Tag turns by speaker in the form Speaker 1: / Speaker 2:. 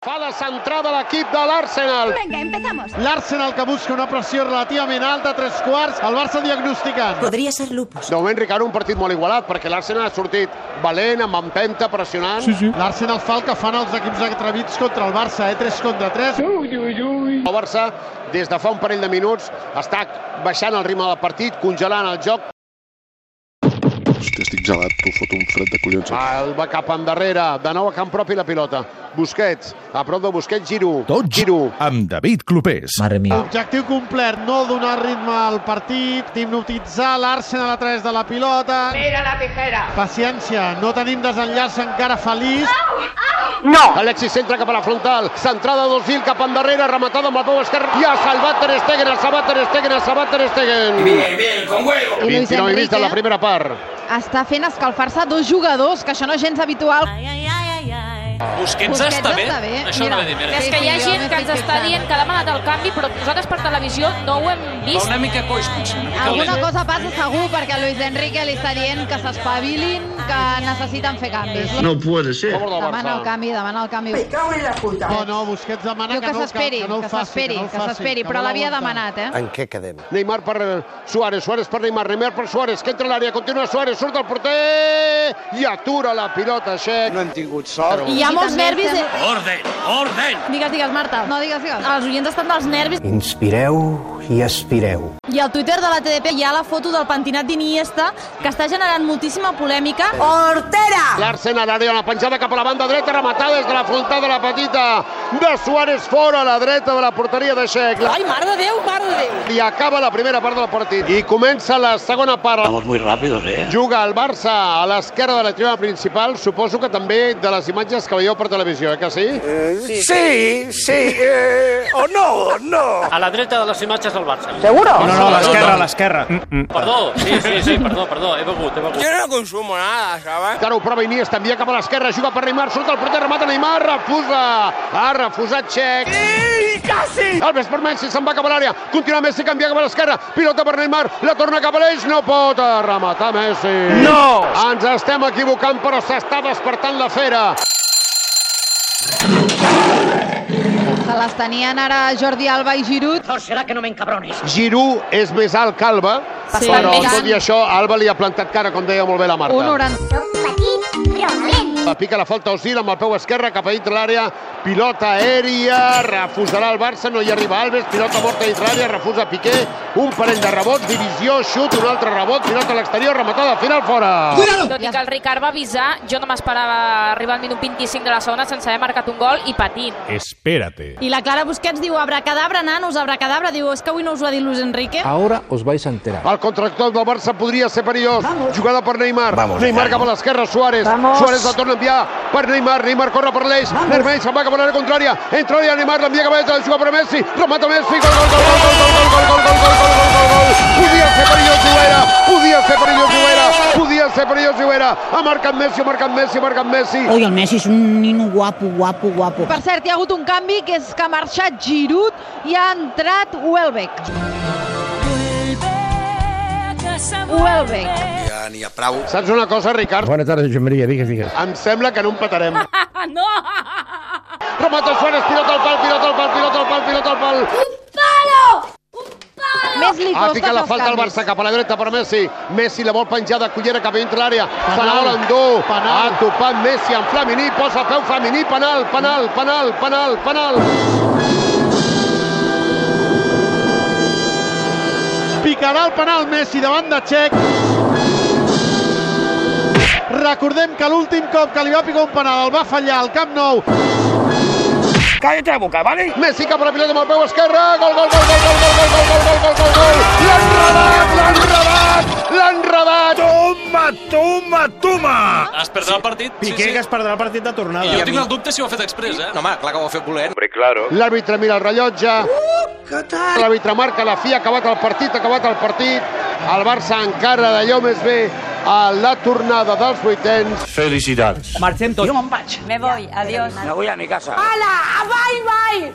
Speaker 1: Fa la centrada l'equip de l'Arsenal.
Speaker 2: Venga, empezamos.
Speaker 3: L'Arsenal que busca una pressió relativament alta, tres quarts, el Barça diagnosticant.
Speaker 4: Podria ser lupus.
Speaker 1: De moment, Ricard, un partit molt igualat, perquè l'Arsenal ha sortit valent, amb empenta, pressionant.
Speaker 3: Sí, sí. L'Arsenal fa el que fan els equips atrevits contra el Barça, eh? 3 contra 3. Ui, ui,
Speaker 1: ui. El Barça, des de fa un parell de minuts, està baixant el ritme del partit, congelant el joc.
Speaker 5: Hòstia, estic gelat, tu fot un fred de collons.
Speaker 6: Ah.
Speaker 1: El va cap endarrere, de nou a camp propi la pilota. Busquets, a prop de Busquets, Giroud.
Speaker 6: Tots
Speaker 1: Giroud.
Speaker 6: amb David Clopés.
Speaker 4: Mare mia.
Speaker 3: Objectiu complet, no donar ritme al partit, hipnotitzar l'Arsenal a través de la pilota.
Speaker 2: Mira la tijera.
Speaker 3: Paciència, no tenim desenllaç encara feliç.
Speaker 1: No! Alexis centra cap a la frontal, centrada a dos fil cap endarrere, rematada amb la peu esquerra. I ha salvat Ter Stegen, ha salvat Ter Stegen, ha salvat Ter Stegen.
Speaker 7: Bien, bien, con huevo.
Speaker 2: I Luis
Speaker 1: 29 minuts de la
Speaker 2: Enrique
Speaker 1: primera part.
Speaker 2: està fent escalfar-se dos jugadors, que això no és gens habitual.
Speaker 8: Busquets,
Speaker 2: Busquets
Speaker 8: està, bé.
Speaker 2: està bé.
Speaker 8: Això
Speaker 2: Mira.
Speaker 8: no va dir merda.
Speaker 9: És que hi ha
Speaker 2: Sí, sí,
Speaker 9: gent
Speaker 2: jo
Speaker 9: que
Speaker 2: m'he
Speaker 9: ens està
Speaker 2: fixat.
Speaker 9: dient que ha demanat el canvi, però nosaltres per televisió no ho hem
Speaker 8: Va
Speaker 9: vist.
Speaker 8: una mica coix, potser. Una mica
Speaker 2: Alguna
Speaker 8: lent.
Speaker 2: cosa passa segur, perquè a Luis Enrique li està dient que s'espavilin, que necessiten fer canvis.
Speaker 10: No puede
Speaker 1: A
Speaker 10: ser.
Speaker 1: favor del
Speaker 2: Demana el
Speaker 1: Barça.
Speaker 2: canvi, demana el canvi.
Speaker 3: No, no, Busquets demana
Speaker 2: Diu
Speaker 3: que,
Speaker 2: que
Speaker 3: no, que,
Speaker 2: s'esperi,
Speaker 3: que no
Speaker 2: que
Speaker 3: el faci.
Speaker 2: s'esperi,
Speaker 3: no el
Speaker 2: que
Speaker 3: faci,
Speaker 2: s'esperi,
Speaker 3: que
Speaker 2: però
Speaker 3: no
Speaker 2: l'havia
Speaker 3: l'aguanta.
Speaker 2: demanat, eh?
Speaker 11: En què quedem?
Speaker 1: Neymar per eh, Suárez, Suárez per Neymar, Neymar per Suárez, que entra a l'àrea, continua Suárez, surt el porter i atura la pilota, Xec. No hem tingut sort.
Speaker 2: hi ha molts nervis.
Speaker 7: Orden, orden.
Speaker 9: eh? Digues, digues, Marta.
Speaker 2: No, digues, digues.
Speaker 9: Els oients estan dels nervis.
Speaker 11: Inspireu i expireu.
Speaker 9: I al Twitter de la TDP hi ha la foto del pentinat d'Iniesta que està generant moltíssima polèmica.
Speaker 1: L'Arsenal a l'àrea, la penjada cap a la banda dreta, rematada des de la frontal de la petita de Suárez fora a la dreta de la porteria de Xec. Ai, mare de Déu, mare de Déu. I acaba la primera part del partit. I comença la segona part.
Speaker 7: Vamos muy rápidos, eh.
Speaker 1: Juga el Barça a l'esquerra de la tribuna principal, suposo que també de les imatges que veieu per televisió, eh que sí?
Speaker 11: Sí, sí, eh, o no, no.
Speaker 7: A la dreta de les imatges del Barça.
Speaker 6: No, no, no, a l'esquerra, a l'esquerra.
Speaker 7: Perdó, sí, sí, sí, perdó, perdó, he begut, he begut.
Speaker 11: no consumo nada, ¿sabes?
Speaker 1: Encara ho prova Iniesta, envia cap a l'esquerra, juga per Neymar, surt el porter, remata Neymar, refusa, ha refusat Xec.
Speaker 11: ¡Sí, casi!
Speaker 1: El Vesper Messi se'n va cap a l'àrea, continua Messi, canvia cap a l'esquerra, pilota per Neymar, la torna cap a l'eix, no pot eh, rematar Messi. No! Ens estem equivocant, però s'està despertant la fera.
Speaker 2: Se les tenien ara Jordi Alba i Giroud.
Speaker 1: Giroud és més alt que Alba,
Speaker 2: Sí.
Speaker 1: però
Speaker 2: Bastant més
Speaker 1: tot i això, Alba li ha plantat cara, com deia molt bé la Marta.
Speaker 2: Un 90.
Speaker 1: La pica la falta Osil amb el peu esquerre cap a dintre l'àrea. Pilota aèria, refusarà el Barça, no hi arriba Alves. Pilota morta dintre l'àrea, refusa Piqué. Un parell de rebots, divisió, xut, un altre rebot, pilota a l'exterior, rematada, final fora.
Speaker 9: Tot i que el Ricard va avisar, jo no m'esperava arribar al minut 25 de la segona sense haver marcat un gol i patint.
Speaker 3: Mm.
Speaker 6: Espérate.
Speaker 9: I la Clara Busquets diu abracadabra, nanos, abracadabra. Diu, és que avui no us ho ha dit Luis Enrique.
Speaker 11: Ahora os vais a enterar.
Speaker 1: El contractor del Barça podria ser perillós. Jugada per Neymar.
Speaker 11: Vamos,
Speaker 1: Neymar
Speaker 11: Ricardo.
Speaker 1: cap a l'esquerra, Suárez. Suárez la torna a enviar per Neymar. Neymar corre per l'eix. Vermell se'n va cap a l'àrea contrària. Entra l'àrea Neymar, l'envia cap a l'altre, juga per Messi. Remata Messi. Gol, gol, gol, gol, gol, gol, gol, gol, gol, gol, gol, gol, gol, gol. Podia ser perillós Lluera. Podia ser perillós Lluera. Podia ser perillós Lluera. Ha marcat Messi, ha marcat Messi, ha marcat Messi.
Speaker 4: Oi, el Messi és un nino guapo, guapo, guapo.
Speaker 2: Per cert, hi ha hagut un canvi, que és que ha marxat Giroud i ha entrat Welbeck. Welbeck.
Speaker 11: Ja n'hi ha prou.
Speaker 1: Saps una cosa, Ricard?
Speaker 11: Bona tarda, Josep Maria, digues, digues.
Speaker 1: Em sembla que no empatarem.
Speaker 9: Ah, no!
Speaker 1: Remata Suárez, pilota al pal, pilota al pal, pilota al pal, pilota al pal.
Speaker 2: Més li
Speaker 1: Ha
Speaker 2: costa
Speaker 1: picat ah, la
Speaker 2: fer els
Speaker 1: falta al
Speaker 2: canvis.
Speaker 1: Barça cap a la dreta per Messi. Messi la vol penjar de cullera cap a dintre l'àrea. Se la
Speaker 3: Penal.
Speaker 1: vol endur.
Speaker 3: Penal.
Speaker 1: Ha topat Messi amb Flamini. Posa peu Flamini. Penal, penal, penal, penal, penal.
Speaker 3: Picarà el penal Messi davant de Txec. Recordem que l'últim cop que li va picar un penal el va fallar al Camp Nou.
Speaker 11: Cállate la boca, ¿vale?
Speaker 1: Messi cap a la pilota amb el peu esquerre. Gol, gol, gol, gol, gol, gol, gol, gol, gol, gol, gol, gol. L'han rebat, l'han rebat, l'han rebat.
Speaker 5: Toma, toma,
Speaker 2: Ah.
Speaker 5: toma!
Speaker 8: Es perdrà el partit.
Speaker 6: Piqué, que es perdrà el partit de tornada.
Speaker 8: I jo tinc el dubte si ho ha fet express, eh?
Speaker 11: No, home, clar que ho ha fet voler.
Speaker 1: L'àrbitre mira el rellotge. L'àrbitre marca la fi. Acabat el partit, acabat el partit. El Barça encara d'allò més bé a la tornada dels vuitens.
Speaker 5: Felicitats.
Speaker 11: Me voy, adiós. Me voy a mi casa.
Speaker 9: Hola, bye, bye!